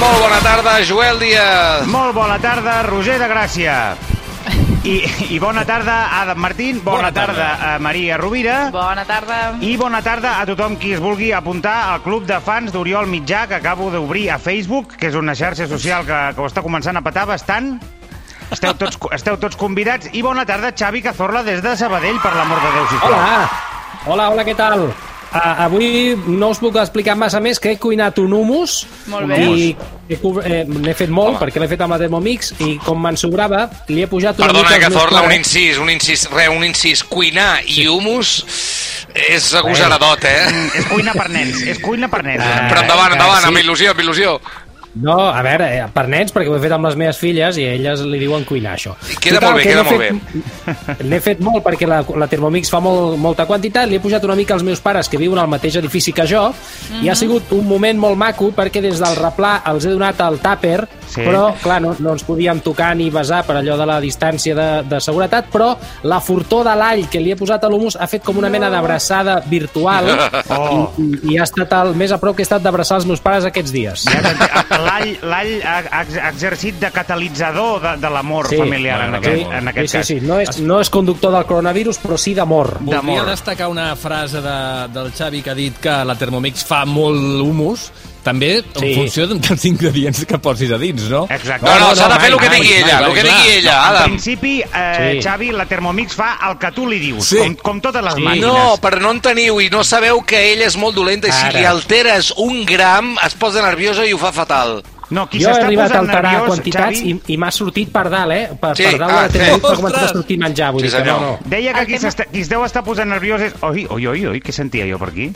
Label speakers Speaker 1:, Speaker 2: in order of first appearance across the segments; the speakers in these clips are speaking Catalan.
Speaker 1: Molt bona tarda, Joel Díaz.
Speaker 2: Molt bona tarda, Roger de Gràcia. I, i bona tarda, Adam Martín. Bona,
Speaker 3: Bona tarda.
Speaker 2: tarda a Maria Rovira.
Speaker 4: Bona tarda.
Speaker 2: I bona tarda a tothom qui es vulgui apuntar al club de fans d'Oriol Mitjà, que acabo d'obrir a Facebook, que és una xarxa social que, que ho està començant a petar bastant. Esteu tots, esteu tots convidats. I bona tarda, Xavi Cazorla, des de Sabadell, per l'amor de Déu, sisplau.
Speaker 3: Hola! Hola, hola, què tal? Uh, avui no us puc explicar massa més que he cuinat un humus
Speaker 4: Molt bé.
Speaker 3: i he cub- eh, n'he fet molt Home. perquè l'he fet amb la Thermomix i com me'n sobrava li he pujat una
Speaker 1: Perdona,
Speaker 3: mica...
Speaker 5: eh,
Speaker 3: els meus
Speaker 6: eh?
Speaker 1: Cazorla, un
Speaker 3: claret.
Speaker 1: incís, un incís, re, un incís. Cuinar i humus és agosaradot, eh?
Speaker 2: Mm, És cuina per nens, és cuina per nens.
Speaker 3: Ah,
Speaker 1: Però endavant,
Speaker 3: eh,
Speaker 1: endavant,
Speaker 3: sí.
Speaker 1: amb il·lusió, amb il·lusió.
Speaker 3: No, a veure, eh, per nens, perquè ho he fet amb les meves filles i elles li diuen cuinar, això.
Speaker 1: Queda molt bé,
Speaker 3: que
Speaker 1: queda
Speaker 3: n'he fet- N'he fet molt perquè la, la Thermomix fa molt, molta quantitat, li he pujat una mica als meus pares que viuen al mateix edifici que jo i ha sigut un moment molt maco perquè des del replà els he donat el tàper,
Speaker 2: Sí.
Speaker 3: però, clar, no, no ens podíem tocar ni besar per allò de la distància de, de seguretat, però la fortor de l'all que li he posat a l'humus ha fet com una mena d'abraçada virtual
Speaker 2: Oh.
Speaker 3: i, i, i ha estat el més a prop que he estat d'abraçar els meus pares aquests dies.
Speaker 2: Ja t'entenc. L'all- L'all ha, ha ex- ha exercit de catalitzador de, de l'amor familiar, en aquest, en aquest
Speaker 3: sí,
Speaker 2: cas.
Speaker 3: Sí, sí, no és, no és conductor del coronavirus, però sí d'amor.
Speaker 2: D'amor.
Speaker 6: Voldria destacar una frase de, del Xavi que ha dit que la Thermomix fa molt humus, també en
Speaker 3: Sí.
Speaker 6: funció de- dels ingredients que posis a dins, no?
Speaker 2: Exacte.
Speaker 1: No, no, s'ha de fer
Speaker 6: mai,
Speaker 1: el que
Speaker 6: mai,
Speaker 1: digui
Speaker 6: mai,
Speaker 1: ella,
Speaker 6: mai,
Speaker 1: el que
Speaker 6: clar.
Speaker 1: digui ella,
Speaker 2: En
Speaker 1: Adam.
Speaker 2: principi, eh,
Speaker 3: Sí.
Speaker 2: Xavi, la Thermomix fa el que tu li dius,
Speaker 6: Sí.
Speaker 2: com, com totes les màquines.
Speaker 1: No, però no en teniu i no sabeu que ella és molt dolenta i si
Speaker 3: Ara.
Speaker 1: li alteres un gram es posa nerviosa i ho fa fatal.
Speaker 2: no qui
Speaker 3: Jo he
Speaker 2: s'està
Speaker 3: arribat a
Speaker 2: posant
Speaker 3: alterar
Speaker 2: nerviós,
Speaker 3: quantitats
Speaker 2: Xavi,
Speaker 3: i, i m'ha sortit per dalt, eh? Per,
Speaker 1: Sí,
Speaker 3: per dalt
Speaker 1: ah,
Speaker 3: de la
Speaker 1: sí.
Speaker 3: tele, m'ha començat a
Speaker 6: Ostres!
Speaker 3: sortir menjar, vull
Speaker 1: Sí,
Speaker 3: dir que no,
Speaker 1: senyor.
Speaker 3: no.
Speaker 2: Deia que
Speaker 4: El
Speaker 2: qui,
Speaker 4: tema-
Speaker 2: s'està- qui es deu estar posant nerviós és... Oi, oi, oi, oi, què sentia jo per aquí?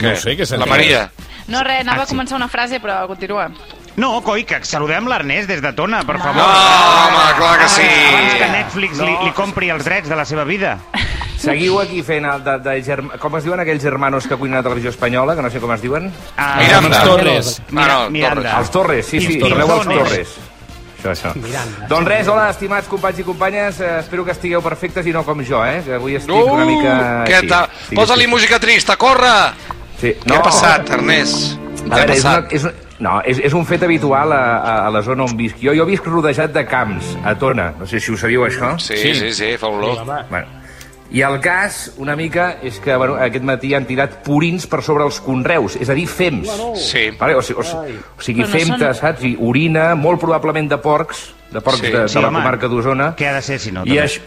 Speaker 6: No sé què
Speaker 1: La
Speaker 6: sentia.
Speaker 1: Maria.
Speaker 4: No, res, anava
Speaker 2: Ah,
Speaker 4: a
Speaker 2: sí.
Speaker 4: començar una frase, però continua.
Speaker 2: No, coi, que saludem l'Ernest des de Tona, per favor.
Speaker 1: No, home, Ah, clar que sí.
Speaker 2: Ah, eh, Abans que Netflix li, li compri els drets de la seva vida.
Speaker 5: Seguiu aquí fent el de, de germ... com es diuen aquells germanos que cuinen a la televisió espanyola, que no sé com es diuen?
Speaker 2: Ah,
Speaker 1: Miranda.
Speaker 6: Els Torres.
Speaker 1: Ah,
Speaker 2: Mira,
Speaker 1: no,
Speaker 2: Miranda.
Speaker 5: Els Torres, sí, sí,
Speaker 2: Pinzones.
Speaker 5: torneu als Torres. Això, això.
Speaker 3: Miranda,
Speaker 5: Doncs res, hola, estimats companys i companyes, eh, espero que estigueu perfectes i no com jo, eh? Que avui estic
Speaker 1: No,
Speaker 5: una mica...
Speaker 1: què
Speaker 5: així.
Speaker 1: tal?
Speaker 5: Ah, Sí,
Speaker 1: Posa-li
Speaker 5: sí.
Speaker 1: música trista, corre!
Speaker 5: Sí.
Speaker 1: Què ha passat, Ernest? Què
Speaker 5: A
Speaker 1: ha
Speaker 5: veure, és, una,
Speaker 1: passat?
Speaker 5: és, una, no, és, és un fet habitual a, a, a la zona on visc. Jo, jo visc rodejat de camps, a Tona. No sé si ho sabíeu, això.
Speaker 1: Sí, sí, sí, fa olor.
Speaker 5: Bueno. I el cas, una mica, és que bueno, aquest matí han tirat purins per sobre els conreus, és a dir, fems.
Speaker 1: Sí.
Speaker 5: Vale? O, sigui, o, sigui, o sigui,
Speaker 4: Però no
Speaker 5: fem, no
Speaker 4: són-
Speaker 5: saps? I orina, molt probablement de porcs, de porcs
Speaker 1: Sí.
Speaker 5: sí, de, de
Speaker 2: Sí,
Speaker 5: la
Speaker 2: home.
Speaker 5: comarca d'Osona.
Speaker 2: Què ha de ser, si no?
Speaker 5: I
Speaker 2: també?
Speaker 5: això...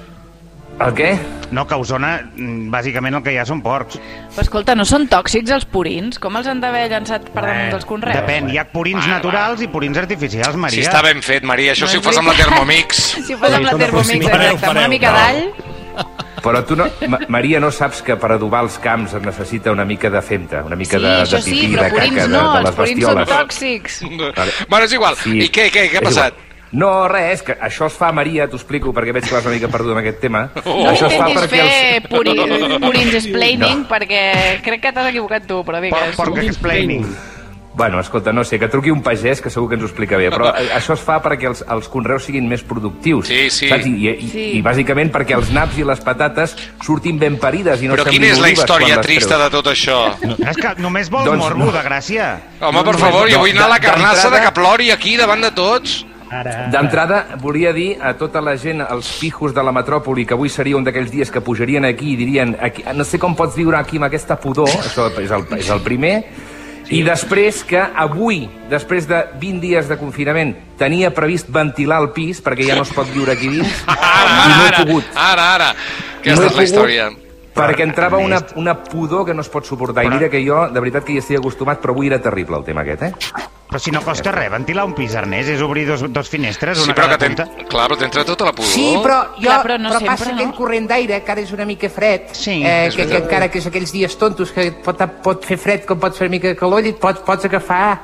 Speaker 5: El què?
Speaker 2: No, que a Osona, mm, bàsicament, el que hi ha són porcs.
Speaker 4: Però escolta, no són tòxics els purins? Com els han d'haver llançat per damunt dels conreus?
Speaker 2: Depèn, Eh, hi ha purins
Speaker 1: Bueno,
Speaker 2: naturals i purins artificials,
Speaker 1: Si
Speaker 2: Maria.
Speaker 1: està ben fet, Maria, això
Speaker 4: No
Speaker 1: si ho
Speaker 4: és
Speaker 1: fas amb la
Speaker 4: veritat.
Speaker 1: Thermomix.
Speaker 4: Si ho fas amb la
Speaker 3: Sí,
Speaker 4: Thermomix,
Speaker 3: fareu,
Speaker 4: exacte, amb una
Speaker 6: fareu.
Speaker 4: mica d'all...
Speaker 5: Però tu no... Ma Maria, no saps que per adobar els camps es necessita una mica de femta, una mica
Speaker 4: Sí,
Speaker 5: de,
Speaker 4: això
Speaker 5: de
Speaker 4: sí,
Speaker 5: pipí,
Speaker 4: però
Speaker 5: de caca,
Speaker 4: purins
Speaker 5: de,
Speaker 4: no,
Speaker 5: de
Speaker 4: els
Speaker 5: les
Speaker 4: purins són
Speaker 5: bestioles.
Speaker 4: tòxics.
Speaker 1: Bueno, és igual. I què, què, què ha
Speaker 5: És igual.
Speaker 1: passat?
Speaker 5: No, res, que això es fa, Maria, t'ho explico, perquè veig que vas una mica perdut amb aquest tema.
Speaker 1: Oh.
Speaker 4: No
Speaker 5: això
Speaker 4: intentis fer
Speaker 5: els-
Speaker 4: Eh, puri, purins explaining, perquè crec que t'has equivocat tu, però
Speaker 2: Porc,
Speaker 4: digues.
Speaker 2: porc explaining.
Speaker 5: Bueno, escolta, no sé, que truqui un pagès que segur que ens ho explica bé, però eh, això es fa perquè els, els conreus siguin més productius.
Speaker 1: Sí, sí.
Speaker 5: Saps? I, i,
Speaker 4: Sí.
Speaker 5: I bàsicament perquè els naps i les patates surtin ben parides i no
Speaker 1: Però quina és la història trista de tot això?
Speaker 2: És que només vol
Speaker 5: Doncs
Speaker 2: morbo,
Speaker 5: no.
Speaker 2: de gràcia.
Speaker 1: Home, per favor, jo vull anar a la carnassa de que plori aquí davant de tots.
Speaker 5: D'entrada, volia dir a tota la gent, als pijos de la metròpoli, que avui seria un d'aquells dies que pujarien aquí i dirien aquí, no sé com pots viure aquí amb aquesta pudor, això és el, és el primer, i després que avui, després de 20 dies de confinament, tenia previst ventilar el pis, perquè ja no es pot viure aquí dins,
Speaker 1: Ara,
Speaker 5: i no he
Speaker 1: ara, ara,
Speaker 5: pogut.
Speaker 1: ara, ara.
Speaker 5: No
Speaker 1: Aquesta
Speaker 5: he
Speaker 1: és la
Speaker 5: pogut
Speaker 1: història.
Speaker 5: Perquè entrava una, una pudor que no es pot suportar. I mira que jo, de veritat que hi estic acostumat, però avui era terrible el tema aquest, eh?
Speaker 2: Però si no costa res, ventilar un pis, Ernest, és obrir dos, dos finestres,
Speaker 1: Sí,
Speaker 2: una
Speaker 1: però
Speaker 2: cada
Speaker 1: que t'en-
Speaker 2: punta.
Speaker 1: clar, però t'entra tota la pudor.
Speaker 7: Sí, però, jo,
Speaker 4: Clar, però
Speaker 7: però,
Speaker 4: no
Speaker 7: no però
Speaker 4: sempre,
Speaker 7: passa
Speaker 4: no?
Speaker 7: que el corrent d'aire, que ara és una mica fred,
Speaker 2: Sí,
Speaker 7: eh,
Speaker 1: és
Speaker 7: que, que
Speaker 1: veritat.
Speaker 7: encara que és aquells dies tontos que pot, pot fer fred, com pot fer una mica de calor, i pots, pots agafar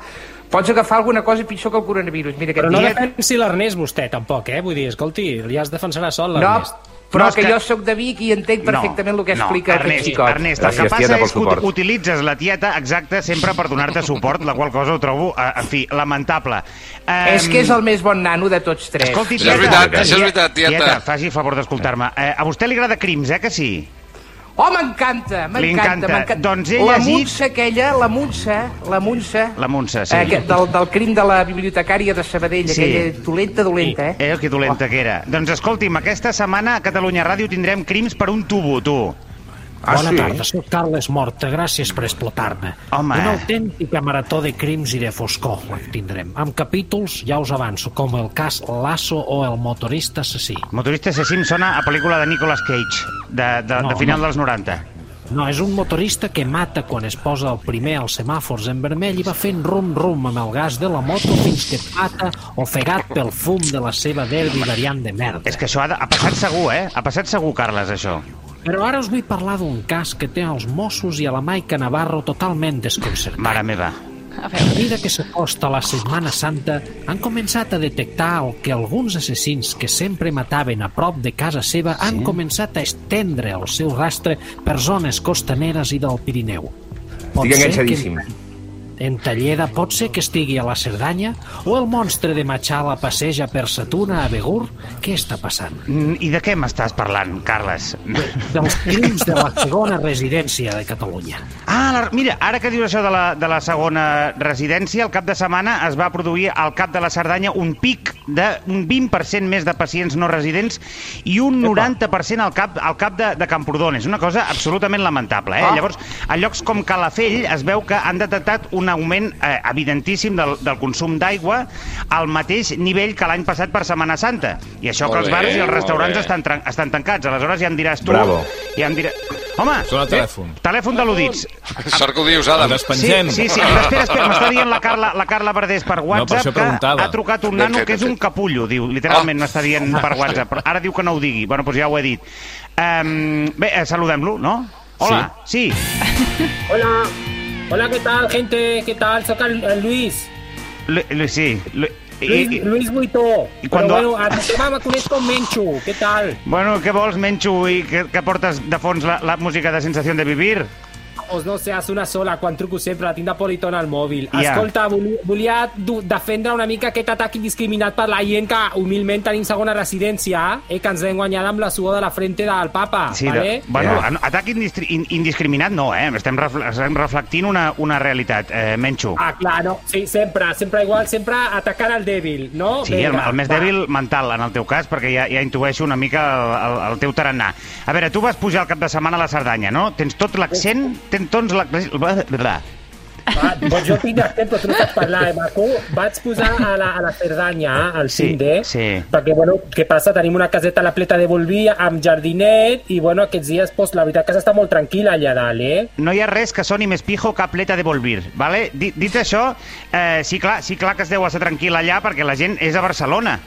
Speaker 7: pots agafar alguna cosa pitjor que el coronavirus. Mira, aquest
Speaker 3: Però no
Speaker 7: dia...
Speaker 3: defensi l'Ernest vostè, tampoc, eh? Vull dir, escolti, ja es defensarà sol
Speaker 7: No,
Speaker 3: l'Ernest.
Speaker 2: No,
Speaker 7: però
Speaker 2: és
Speaker 7: que,
Speaker 2: que-
Speaker 7: jo sóc de Vic i entenc perfectament el que explica
Speaker 2: Ernest,
Speaker 7: aquest xicot.
Speaker 2: Ernest, el
Speaker 5: Gràcies,
Speaker 2: que passa
Speaker 5: tieta, pel
Speaker 2: és que ut-
Speaker 5: suport.
Speaker 2: utilitzes la tieta exacta sempre per donar-te suport, la qual cosa ho trobo, eh, en fi, lamentable. Eh,
Speaker 7: És que és el més bon nano de tots tres.
Speaker 2: Escolti,
Speaker 1: Això és
Speaker 2: tieta,
Speaker 1: veritat, això és veritat, tieta.
Speaker 2: tieta faci favor d'escoltar-me. Eh, a vostè li agrada Crims, eh, que eh sí?
Speaker 7: Oh, m'encanta,
Speaker 2: encanta.
Speaker 7: m'encanta, m'encanta.
Speaker 2: Doncs ell
Speaker 7: la
Speaker 2: ha dit-
Speaker 7: Montse aquella, la Montse, la Montse...
Speaker 2: La Montse, sí.
Speaker 7: Aquest, Eh, del, del crim de la bibliotecària de Sabadell,
Speaker 2: Sí.
Speaker 7: aquella dolenta, dolenta, eh?
Speaker 2: Eh, que dolenta que era. Doncs escolti'm, aquesta setmana a Catalunya Ràdio tindrem crims per un tubo, tu.
Speaker 5: Ah,
Speaker 8: Bona
Speaker 5: sí?
Speaker 8: tarda, soc Carles Morta, gràcies per explotar-me.
Speaker 2: Home.
Speaker 8: Una autèntica marató de crims i de foscor en tindrem, amb capítols, ja us avanço, com el cas Lasso o el motorista assassí.
Speaker 2: Motorista assassí em sona a pel·lícula de Nicolas Cage, de, de,
Speaker 8: No,
Speaker 2: de final
Speaker 8: no.
Speaker 2: dels 90.
Speaker 8: No, és un motorista que mata quan es posa el primer als semàfors en vermell i va fent rum-rum amb el gas de la moto fins que pata ofegat pel fum de la seva derbi variant de merda.
Speaker 2: És que això ha, de, ha passat segur, eh? Ha passat segur, Carles, això.
Speaker 8: Però ara us vull parlar d'un cas que té els Mossos i a la Maica Navarro totalment desconcertat.
Speaker 2: Mare meva.
Speaker 4: A
Speaker 8: A
Speaker 4: veure,
Speaker 8: mesura que s'acosta la Setmana Santa, han començat a detectar el que alguns assassins que sempre mataven a prop de casa seva han començat a estendre el seu rastre per zones costaneres i del Pirineu. Pot
Speaker 5: Estic
Speaker 8: ser
Speaker 5: enganxadíssim.
Speaker 8: Que... En Talleda pot ser que estigui a la Cerdanya o el monstre de Machala passeja per Satuna a Begur. Què està passant?
Speaker 2: Mm, I de què m'estàs parlant, Carles?
Speaker 8: Dels crims de la segona residència de Catalunya.
Speaker 2: Ah, la, mira, ara que dius això de la, de la segona residència, el cap de setmana es va produir al cap de la Cerdanya un pic d'un 20% més de pacients no residents i un 90% al cap, al cap de, de Camprodon. És una cosa absolutament lamentable. Eh?
Speaker 7: Ah.
Speaker 2: Llavors, a llocs com Calafell es veu que han detectat un augment eh, evidentíssim del, del consum d'aigua al mateix nivell que l'any passat per Setmana Santa. I això
Speaker 1: Molt
Speaker 2: que els
Speaker 1: bé,
Speaker 2: bars i els
Speaker 1: molt
Speaker 2: restaurants
Speaker 1: bé.
Speaker 2: estan, tran- estan tancats. Aleshores ja em diràs tu...
Speaker 5: Bravo.
Speaker 2: Ja em diràs... Home,
Speaker 6: Sona el telèfon.
Speaker 2: Eh?
Speaker 6: Ah,
Speaker 2: telèfon de l'Udits.
Speaker 1: Sort que ho dius,
Speaker 6: El
Speaker 1: Adam.
Speaker 6: despengem.
Speaker 2: Sí, sí, espera, espera, espera m'està dient la Carla, la Carla Verdés per
Speaker 6: per
Speaker 2: WhatsApp
Speaker 6: això
Speaker 2: que
Speaker 6: preguntava.
Speaker 2: ha trucat un
Speaker 1: Ben
Speaker 2: nano
Speaker 1: fet,
Speaker 2: que és
Speaker 1: ben
Speaker 2: un
Speaker 1: fet.
Speaker 2: capullo, diu, literalment
Speaker 1: Ah.
Speaker 2: m'està dient per WhatsApp, però ara diu que no ho digui. Bueno, doncs ja ho he dit. Um, bé, eh, saludem-lo, no? Hola, sí.
Speaker 3: Hola. Hola, ¿qué tal, gente? ¿Qué tal? Soy Carl- eh, Luis.
Speaker 2: Lu- Lu- sí. Lu-
Speaker 3: Luis,
Speaker 2: i, i,
Speaker 3: Luis Buito.
Speaker 2: ¿y cuándo-
Speaker 3: Pero bueno, a ti te va a vacunar con Menchu. ¿Qué tal?
Speaker 2: bueno, què vols, Menxo, i que, que portes de fons la, la música de Sensació de Vivir?
Speaker 3: Os no seas una sola, quan truco sempre a la tinda politona al mòbil.
Speaker 2: Ja.
Speaker 3: Escolta, voli- volia du- defendre una mica aquest atac indiscriminat per la gent que humilment tenim segona residència, eh, que ens hem guanyat amb la suor de la frente del papa,
Speaker 2: Sí,
Speaker 3: vale?
Speaker 2: de, bueno,
Speaker 5: Ja.
Speaker 2: yeah. atac indistri- in- indiscriminat no, eh? Estem, refle estem reflectint una, una realitat, eh, Menxo.
Speaker 3: Ah, clar, no, sí, sempre, sempre igual, sempre atacant al dèbil, no?
Speaker 2: Sí, el,
Speaker 3: Vinga,
Speaker 2: el més
Speaker 3: va.
Speaker 2: dèbil mental, en el teu cas, perquè ja, ja intueixo una mica el, el, el teu tarannà. A veure, tu vas pujar el cap de setmana a la Cerdanya, no? Tens tot l'accent, tens tots l'accent...
Speaker 3: Va, doncs jo tinc accent, però tu no saps parlar, eh, maco? Vaig posar a la, a la Cerdanya, eh, al
Speaker 2: Sí,
Speaker 3: sí, Cinde,
Speaker 2: sí.
Speaker 3: perquè, bueno, què passa? Tenim una caseta a la pleta de Bolví amb jardinet i, bueno, aquests dies, doncs, la veritat que s'està molt tranquil·la allà dalt, eh?
Speaker 2: No hi ha res que soni més pijo que pleta de volvir, vale? Dit, dit això, eh, sí, clar, sí clar que es deu estar tranquil allà perquè la gent és a Barcelona.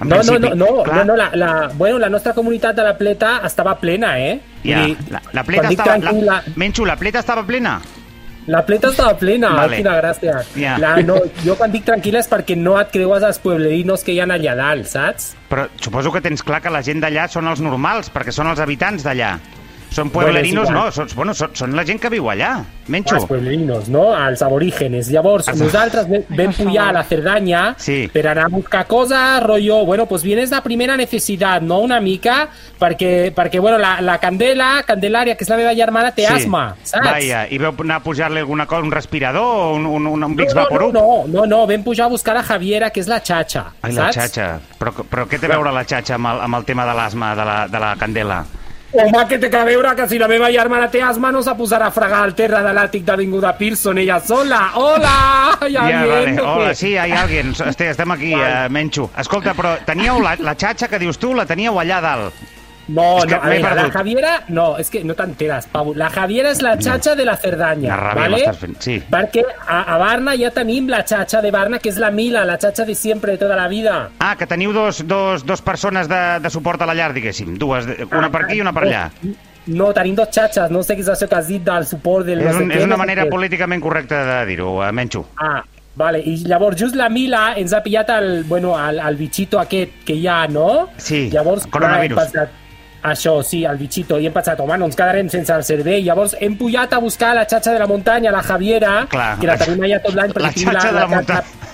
Speaker 2: En
Speaker 3: No, no,
Speaker 2: principi,
Speaker 3: no, no,
Speaker 2: clar.
Speaker 3: no, no, la, la, bueno, la nostra comunitat de la pleta estava plena, eh?
Speaker 2: Ja,
Speaker 3: Vull dir,
Speaker 2: la, la
Speaker 3: quan
Speaker 2: pleta
Speaker 3: dic
Speaker 2: estava...
Speaker 3: tranquil,
Speaker 2: La,
Speaker 3: la,
Speaker 2: Menxo, la pleta estava plena?
Speaker 3: la pleta estava plena,
Speaker 2: Vale.
Speaker 3: vale. quina gràcia.
Speaker 2: Ja.
Speaker 3: La, no, jo quan dic tranquil·la és perquè no et creues als pueblerinos que hi ha allà dalt, saps?
Speaker 2: Però suposo que tens clar que la gent d'allà són els normals, perquè són els habitants d'allà. Són pueblerinos,
Speaker 3: Bueno,
Speaker 2: no, són, bueno, són, són la gent que viu allà. Menxo.
Speaker 3: als pueblerinos, no? Als aborígenes. Llavors,
Speaker 2: Els-
Speaker 3: nosaltres ve- vam pujar a la Cerdanya
Speaker 2: Sí.
Speaker 3: per anar a buscar coses, rotllo, bueno, pues vienes de primera necessitat, no? Una mica, perquè, perquè bueno, la, la Candela, Candelària, que és la meva germana, té asma, saps?
Speaker 2: Vaja, i veu anar a pujar-li alguna cosa, un respirador o un, un, un, un Vicks
Speaker 3: no, no,
Speaker 2: Vaporub?
Speaker 3: no, no, no, vam pujar a buscar a Javiera, que és la xatxa,
Speaker 2: Ai, la
Speaker 3: saps?
Speaker 2: xatxa. Però, però què té a veure la xatxa amb el, amb el tema de l'asma de, la, de la Candela?
Speaker 3: Home, que té que veure que si la meva germana té asma no s'ha posat a fregar al terra de l'àtic d'Avinguda Pearson ella sola. Hola! Hi ha gent,
Speaker 2: vale.
Speaker 3: o què?
Speaker 2: Hola, sí, hi ha algú. Este, estem aquí, eh, Menxo. Escolta, però teníeu la, la xatxa que dius tu, la teníeu allà dalt.
Speaker 3: No,
Speaker 2: Es que
Speaker 3: no, a
Speaker 2: me he
Speaker 3: ver, la
Speaker 2: perdut.
Speaker 3: Javiera... No, és que no t'enteres, Pau. La Javiera és la xatxa de la Cerdanya,
Speaker 2: Quina ràbia
Speaker 3: vale?
Speaker 2: m'estàs fent, sí.
Speaker 3: Perquè a, a Barna ja tenim la xatxa de Barna, que és la Mila, la xatxa de sempre, de tota la vida.
Speaker 2: Ah, que teniu dos, dos, dos persones de, de suport a la llar, diguéssim. Dues, de- una per aquí i una per allà.
Speaker 3: No, tenim dos xatxes, no sé què és això que has dit del suport del... no
Speaker 2: És,
Speaker 3: sé
Speaker 2: un,
Speaker 3: què,
Speaker 2: és
Speaker 3: no
Speaker 2: una
Speaker 3: sé
Speaker 2: manera
Speaker 3: què.
Speaker 2: políticament correcta de dir-ho, eh, Menxo.
Speaker 3: Ah, vale, i llavors just la Mila ens ha pillat el, bueno, el, el bitxito aquest que hi ha, no?
Speaker 2: Sí,
Speaker 3: llavors,
Speaker 2: el coronavirus.
Speaker 3: clar, hem Pensat, això, sí, el bitxito, i hem pensat, home, no ens quedarem sense el servei. Llavors hem pujat a buscar la xatxa de la muntanya, la Javiera,
Speaker 2: Clar,
Speaker 3: que la
Speaker 2: la-
Speaker 3: tenim allà tot l'any. perquè
Speaker 2: la
Speaker 3: tinc
Speaker 2: xatxa de la
Speaker 3: xatxa-
Speaker 2: muntanya.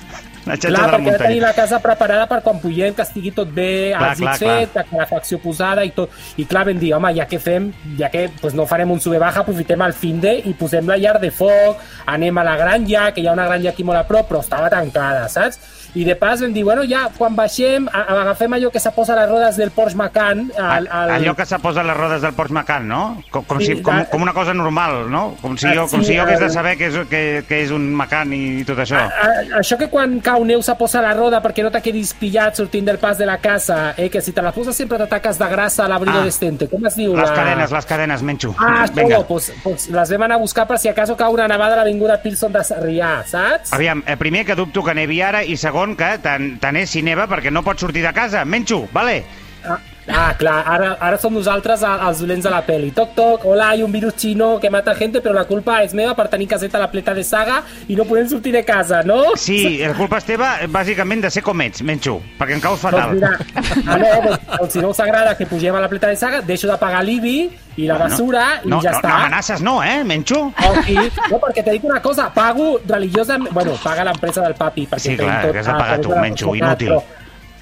Speaker 2: La xatxa
Speaker 9: Clar,
Speaker 2: de la
Speaker 9: perquè ha de tenir
Speaker 2: muntanya.
Speaker 9: la casa preparada per quan puguem, que estigui tot bé,
Speaker 2: Clar,
Speaker 9: els
Speaker 2: clar,
Speaker 9: dits fet, la calefacció posada i tot. I clar, vam dir, home, ja què fem? Ja que pues, no farem un sube-baja, aprofitem el fin de i posem la llar de foc, anem a la granja, que hi ha una granja aquí molt a prop, però estava tancada, saps? I de pas vam dir, bueno, ja, quan baixem, a- a- agafem allò que se posa a les rodes del Porsche Macan. Al, al...
Speaker 2: Allò que se posa a les rodes del Porsche Macan, no? Com, com,
Speaker 9: Sí,
Speaker 2: si, com,
Speaker 9: la-
Speaker 2: com una cosa normal, no? Com si jo,
Speaker 9: Sí,
Speaker 2: com si jo hagués de
Speaker 9: el- Ah,
Speaker 2: saber que és, que, que és un Macan i, tot això.
Speaker 9: A, això que quan cau neu se posa a la roda perquè no te quedis pillat sortint del pas de la casa, eh? que si te la posa sempre t'ataques de grasa a l'abrigo
Speaker 2: Ah.
Speaker 9: ah. d'estente. Com es diu?
Speaker 2: Les
Speaker 9: la...
Speaker 2: cadenes, les cadenes, menxo.
Speaker 9: Ah, això, pues, pues les vam anar a buscar per si acaso cau una nevada a l'avinguda Pearson de Sarrià, saps?
Speaker 2: Aviam, eh, primer que dubto que nevi ara i segon que tant tant és si neva perquè no pots sortir de casa. Menxo, vale?
Speaker 9: Ah, ah clar, ara, ara som nosaltres a- els dolents de la peli. Toc, toc, hola, hay un virus xino que mata gente, però la culpa és meva per tenir caseta a la pleta de saga i no podem sortir de casa, no?
Speaker 2: Sí, la culpa és teva, eh, bàsicament, de ser com ets, menxo, perquè em caus fatal.
Speaker 9: Doncs mira, ah, no, doncs, doncs, si no us agrada que pugem a la pleta de saga, deixo de pagar l'IBI i la basura
Speaker 2: no,
Speaker 9: i ja
Speaker 2: no,
Speaker 9: està.
Speaker 2: No, amenaces no, eh, menxo?
Speaker 9: Okay. No, perquè te dic una cosa, pago religiosament... Bueno, paga l'empresa del papi, perquè
Speaker 2: Sí,
Speaker 9: tenim
Speaker 2: clar,
Speaker 9: tot
Speaker 2: que has de
Speaker 9: a
Speaker 2: pagar
Speaker 9: través
Speaker 2: tu,
Speaker 9: de la
Speaker 2: menxo,
Speaker 9: societat,
Speaker 2: inútil.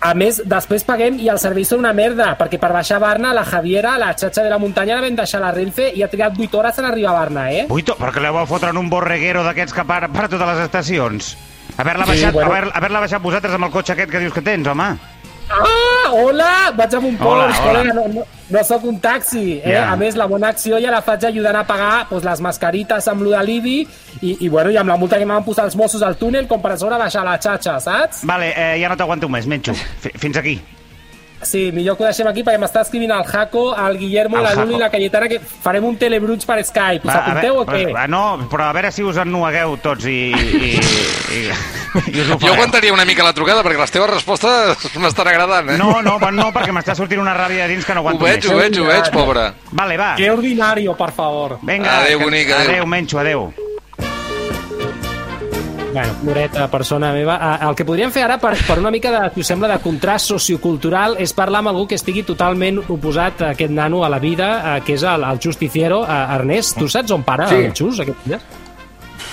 Speaker 9: a més, després paguem i els serveis són una merda, perquè per baixar a Barna, la Javiera, la xatxa de la muntanya, la vam deixar a la Renfe i ha trigat 8 hores en arribar a Barna, eh?
Speaker 2: Buito, però que la vau fotre en un borreguero d'aquests que para, para totes les estacions. Haver-la
Speaker 9: Sí,
Speaker 2: baixat,
Speaker 9: bueno.
Speaker 2: haver, haver baixat vosaltres amb el cotxe aquest que dius que tens, home.
Speaker 9: Ah, hola! Vaig amb un
Speaker 2: Hola,
Speaker 9: Porsche,
Speaker 2: hola.
Speaker 9: col·lega, no, no, no sóc un taxi. Eh?
Speaker 2: Ja.
Speaker 9: A més, la bona acció ja la faig ajudant a pagar pues, les mascarites amb lo de l'IBI i, i, bueno, i amb la multa que m'han posat els Mossos al túnel com per a sobre baixar la xatxa, saps?
Speaker 2: Vale, eh, ja no t'aguanto més, menxo. Fi- Fins aquí.
Speaker 9: Sí, millor que ho deixem aquí perquè m'està escrivint el Jaco, el Guillermo,
Speaker 2: El
Speaker 9: la
Speaker 2: Jaco.
Speaker 9: Lulu i la Cayetana que farem un telebruig per Skype. Us
Speaker 2: a
Speaker 9: apunteu o què?
Speaker 2: va, no, però a veure si us ennuegueu tots i... i, i, i us ho
Speaker 1: Jo
Speaker 2: fareu.
Speaker 1: aguantaria una mica la trucada perquè les teves respostes m'estan agradant, eh?
Speaker 2: No, no, va, no, perquè m'està sortint una ràbia de dins que no
Speaker 1: Ho
Speaker 2: aguanto
Speaker 1: veig, ho
Speaker 2: més.
Speaker 1: veig, ho veig, pobre.
Speaker 2: Vale, va.
Speaker 9: Que ordinario, per favor.
Speaker 2: Vinga,
Speaker 1: Adéu,
Speaker 2: que-
Speaker 1: bonic, adéu.
Speaker 2: Adéu, menxo, adéu.
Speaker 3: Bueno, Loreta, persona meva, ah, el que podríem fer ara per, per una mica de, si us sembla, de contrast sociocultural és parlar amb algú que estigui totalment oposat a aquest nano a la vida, eh, que és el, el justiciero, eh, Ernest. Tu saps on para
Speaker 5: Sí.
Speaker 3: el Xus, aquest dia?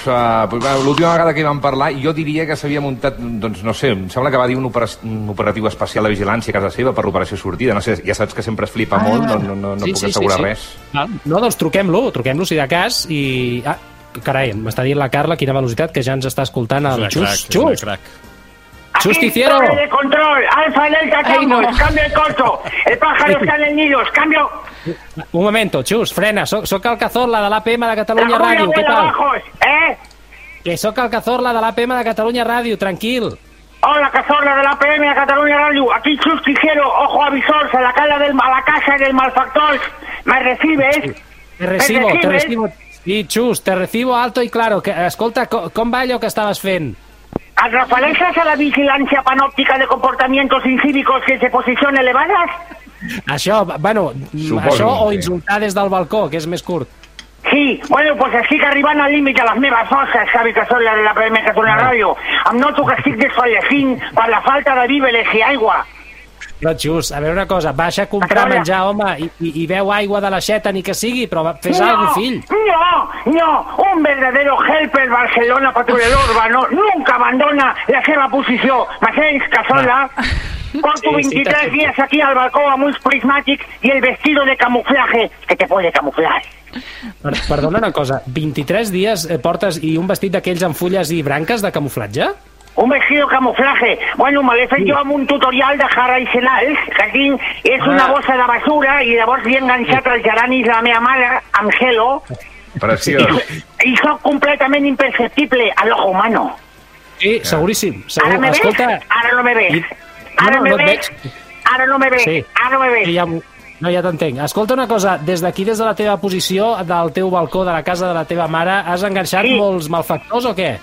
Speaker 5: Uh, L'última vegada que hi vam parlar, jo diria que s'havia muntat, doncs no sé, em sembla que va dir un, opera un operatiu especial de vigilància a casa seva per l'operació sortida. No sé, ja saps que sempre es flipa ah, molt, no, no, no, no sí, puc assegurar sí, sí. res.
Speaker 3: Val. No, doncs truquem-lo, truquem-lo si de cas i... Ah, carai, m'està dient la Carla quina velocitat que ja ens està escoltant
Speaker 6: És
Speaker 3: el
Speaker 6: una
Speaker 3: Xus.
Speaker 6: crac, és una
Speaker 3: Xus,
Speaker 6: crac.
Speaker 3: justiciero!
Speaker 10: Torre de control, alfa, delta, tango, cambio el corto. El pájaro está en el nido, cambio.
Speaker 3: Un momento, Xus, frena, soc, soc el Cazorla de l'APM de Catalunya
Speaker 10: La
Speaker 3: Ràdio, què tal?
Speaker 10: bajos, ¿eh?
Speaker 3: Que sóc el Cazorla de l'APM de Catalunya Ràdio, tranquil.
Speaker 10: Hola, cazorla de la PM de Cataluña Radio. Aquí Chus Quijero, ojo avisor, a la casa del, a la casa del malfactor. ¿Me ¿eh? recibes?
Speaker 3: Te recibo, te
Speaker 10: recibes?
Speaker 3: recibo. Sí, Xus, te recibo alto i claro. Que, escolta, co, com va allò que estaves fent?
Speaker 10: ¿Al a la vigilancia panóptica de comportamientos incívicos que se posición elevadas?
Speaker 3: Això, bueno, Suposo,
Speaker 5: Suposo,
Speaker 3: això o
Speaker 5: sí.
Speaker 3: insultar des del balcó, que és més curt.
Speaker 10: Sí, bueno, pues així que arribant al límit de les meves forces, Xavi Casolla de la PM Catalunya Ràdio, em noto que estic desfallecint per la falta de víveres i aigua.
Speaker 3: Però, Xus, a veure una cosa, baixa a comprar
Speaker 10: Carola.
Speaker 3: menjar, home, i, i, i beu aigua de la xeta, ni que sigui, però va- fes
Speaker 10: no,
Speaker 3: alguna fill.
Speaker 10: No, no, un verdadero helper Barcelona patrullero urbano nunca abandona la seva posició. M'assens, Casolla? Porto
Speaker 3: Ah. Sí, sí,
Speaker 10: 23
Speaker 3: t'escolto.
Speaker 10: dies aquí al balcó amb ulls prismàtics i el vestido de camuflaje que te puede camuflar.
Speaker 3: Per, perdona una cosa, 23 dies eh, portes i un vestit d'aquells amb fulles i branques de camuflatge?
Speaker 10: Un vestido camuflaje. Bueno, me l'he fet jo amb un tutorial de Harry Senals, que tinc, és
Speaker 3: Ah.
Speaker 10: una bossa de basura i llavors li he enganxat els geranis de la meva mare amb gelo
Speaker 5: Preciós.
Speaker 10: i sóc completament imperceptible a l'ojo humano.
Speaker 3: Sí, seguríssim.
Speaker 10: Ara
Speaker 3: Segur.
Speaker 10: me ves?
Speaker 3: Escolta,
Speaker 10: Ara no me
Speaker 3: I-
Speaker 10: ves. Ara
Speaker 3: No,
Speaker 10: me
Speaker 3: no et
Speaker 10: ves?
Speaker 3: veig.
Speaker 10: Ara no me ves.
Speaker 3: Sí.
Speaker 10: Ara me
Speaker 3: Sí,
Speaker 10: ves.
Speaker 3: ja, m'ho- no, ja t'entenc. Escolta una cosa, des d'aquí, des de la teva posició, del teu balcó, de la casa de la teva mare, has enganxat
Speaker 10: Sí.
Speaker 3: molts malfactors o què?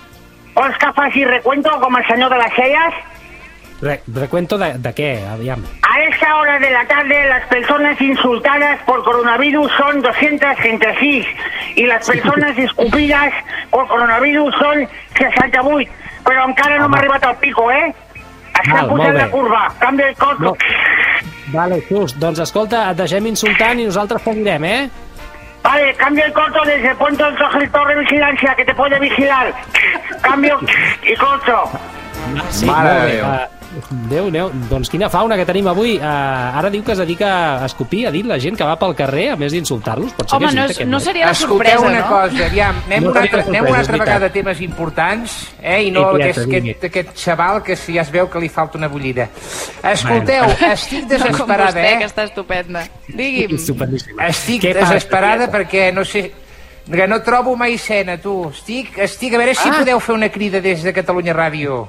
Speaker 10: Vols que faci recuento com el senyor de les celles?
Speaker 3: Re recuento de, de què, aviam.
Speaker 10: A esta hora de la tarde las personas insultadas por coronavirus son 236 y las personas escupidas por coronavirus son 68. Però encara no m'ha arribat al pico, eh? Està
Speaker 3: Val, molt
Speaker 10: pujant
Speaker 3: bé.
Speaker 10: la curva. Canvia el cos.
Speaker 3: No. Vale, just. Doncs escolta, et deixem insultant i nosaltres seguirem, eh?
Speaker 10: Vale, cambio el corto desde el punto del sujeto de vigilancia que te puede vigilar. Cambio y corto.
Speaker 3: Sí,
Speaker 5: Mare
Speaker 3: molt
Speaker 5: de
Speaker 3: bé.
Speaker 5: Déu.
Speaker 3: Ah, Déu, Déu. Doncs quina fauna que tenim avui. Ah, ara diu que es dedica a escopir, ha dit la gent que va pel carrer, a més d'insultar-los. Pot ser que
Speaker 4: Home,
Speaker 3: és
Speaker 4: no
Speaker 3: just
Speaker 4: és-
Speaker 3: aquest
Speaker 4: no
Speaker 3: noi.
Speaker 4: seria de
Speaker 7: Escolteu
Speaker 4: sorpresa,
Speaker 7: una
Speaker 4: no?
Speaker 7: cosa, aviam, anem,
Speaker 3: No seria de
Speaker 7: una altra, anem
Speaker 3: sorpresa,
Speaker 7: una
Speaker 3: és
Speaker 7: altra
Speaker 3: veritat.
Speaker 7: vegada a temes importants, eh? i no
Speaker 3: Sí, tieta,
Speaker 7: aquest,
Speaker 3: vingui.
Speaker 7: aquest, aquest xaval que si ja es veu que li falta una bullida. Escolteu,
Speaker 3: Bueno.
Speaker 7: Oh, estic
Speaker 4: No com
Speaker 7: desesperada,
Speaker 4: Doncs vostè, que
Speaker 7: eh?
Speaker 4: està estupenda. Digui'm.
Speaker 3: Estupendíssim.
Speaker 7: Estic
Speaker 3: Què passa,
Speaker 7: desesperada perquè no sé... Que no trobo maicena, tu. Estic, estic a veure si
Speaker 3: Ah.
Speaker 7: podeu fer una crida des de Catalunya Ràdio.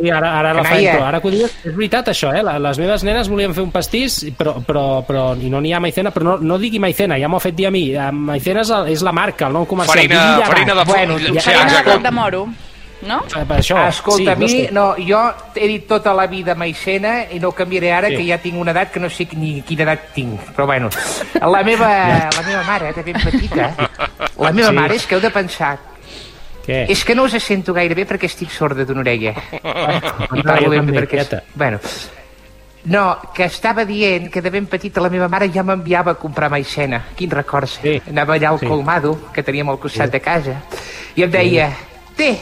Speaker 3: Sí, ara, ara la
Speaker 7: Canalla.
Speaker 3: faig, ara que ho dius, és veritat això, eh? La- Les meves nenes volien fer un pastís, però, però, però i no n'hi ha maicena, però no, no digui maicena, ja m'ho ha fet dir a mi. Eh, Maicena és, el, és la marca, el nom comercial.
Speaker 11: Farina-
Speaker 3: Digui llava.
Speaker 11: farina de fo-
Speaker 3: Bueno,
Speaker 11: sí,
Speaker 3: ja,
Speaker 11: Farina
Speaker 4: Una
Speaker 11: exacte.
Speaker 4: coc de moro, no?
Speaker 3: Eh, per això,
Speaker 7: Escolta, a
Speaker 3: sí, no
Speaker 7: mi,
Speaker 3: sé.
Speaker 7: no, jo he dit tota la vida maicena i no canviaré ara,
Speaker 3: Sí.
Speaker 7: que ja tinc una edat que no sé ni quina edat tinc. Però bueno, la meva, la meva mare, de ben petita, la meva
Speaker 3: eh? Sí.
Speaker 7: mare, és que heu de pensar,
Speaker 3: Què?
Speaker 7: és que no us sento gaire bé perquè estic sorda d'una orella. I
Speaker 3: jo
Speaker 7: parlo ben
Speaker 3: també,
Speaker 7: bé perquè...
Speaker 3: quieta.
Speaker 7: Bueno, no, que estava dient que de ben petita la meva mare ja m'enviava a comprar maicena. Quin records.
Speaker 3: Sí.
Speaker 7: Anava allà al
Speaker 3: Sí.
Speaker 7: colmado, que teníem al costat de casa, i em deia, té,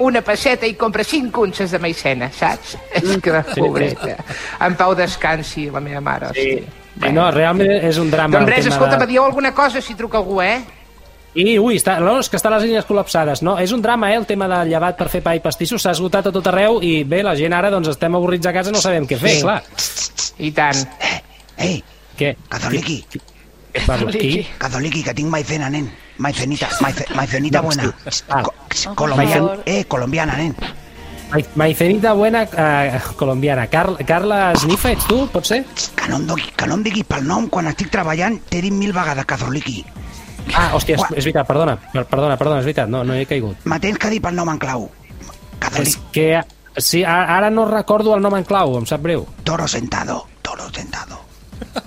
Speaker 7: una pesseta i compra cinc unces de maicena, saps? És que de
Speaker 3: Mm. sí.
Speaker 7: pobreta. En pau descansi, la meva mare, hòstia.
Speaker 3: Sí, no, realment és un drama.
Speaker 7: Doncs
Speaker 3: el
Speaker 7: res,
Speaker 3: tema
Speaker 7: escolta,
Speaker 3: de-
Speaker 7: me dieu alguna cosa si truca algú, eh?
Speaker 3: I, ui, està, no, és que estan les línies col·lapsades. No, és un drama, eh, el tema del llevat per fer pa i pastissos. S'ha esgotat a tot arreu i, bé, la gent ara, doncs, estem avorrits a casa, no sabem què fer,
Speaker 1: Sí.
Speaker 3: clar.
Speaker 7: I tant.
Speaker 1: Ei,
Speaker 3: Què?
Speaker 1: Cazoliqui,
Speaker 3: Què parla? Qui?
Speaker 1: Cazoliqui, que tinc maicena, nen. Maicenita, maice, maicenita
Speaker 3: No,
Speaker 1: buena.
Speaker 3: sí. Ah.
Speaker 1: Co- colombiana,
Speaker 4: favor.
Speaker 1: eh, colombiana, nen.
Speaker 3: Ma- Maicenita buena eh, colombiana. Car Carla Snifa, ets tu, pot ser?
Speaker 1: Que no, em doni- que no em diguis pel nom quan estic treballant, t'he dit mil vegades Cazoliqui.
Speaker 3: Ah, hòstia, és, és veritat, perdona. Per- Perdona, perdona, és veritat, no, no he caigut.
Speaker 1: Me tens que dir pel nom en clau.
Speaker 3: És
Speaker 1: Cazoliqui,
Speaker 3: que... Sí, a- ara no recordo el nom en clau, em sap greu.
Speaker 1: toro sentado, toro sentado.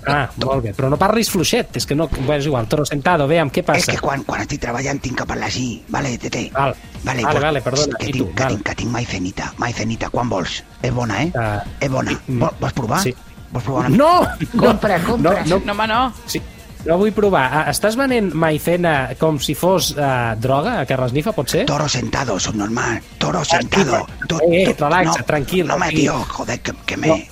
Speaker 3: Ah, molt bé, però no parlis fluixet, és que no... Bueno, és igual, toro sentado, veiem què
Speaker 1: És
Speaker 3: passa.
Speaker 1: que quan, quan estic treballant tinc que parlar així, vale, tete.
Speaker 3: Val. Vale,
Speaker 1: Vale, pues,
Speaker 3: vale, perdona,
Speaker 1: Que
Speaker 3: i
Speaker 1: tinc,
Speaker 3: tu,
Speaker 1: que,
Speaker 3: val.
Speaker 1: tinc, que tinc maicenita, maicenita, quan vols? És bona, eh?
Speaker 3: Ah,
Speaker 1: és bona.
Speaker 3: mm.
Speaker 1: Vol, vols provar?
Speaker 3: Sí.
Speaker 1: Vols provar una...
Speaker 3: No!
Speaker 7: Compra, compra.
Speaker 3: No, no,
Speaker 4: No, home, no.
Speaker 3: sí. No vull provar. Ah, Estàs venent maicena com si fos eh, droga a Carles Nifa, pot ser?
Speaker 1: Toro sentado, subnormal. Toro sentado. Tu-
Speaker 3: Eh,
Speaker 1: tu-
Speaker 3: relaxa, tranquil,
Speaker 1: No me
Speaker 3: tranquil.
Speaker 1: tío, joder, que, que me...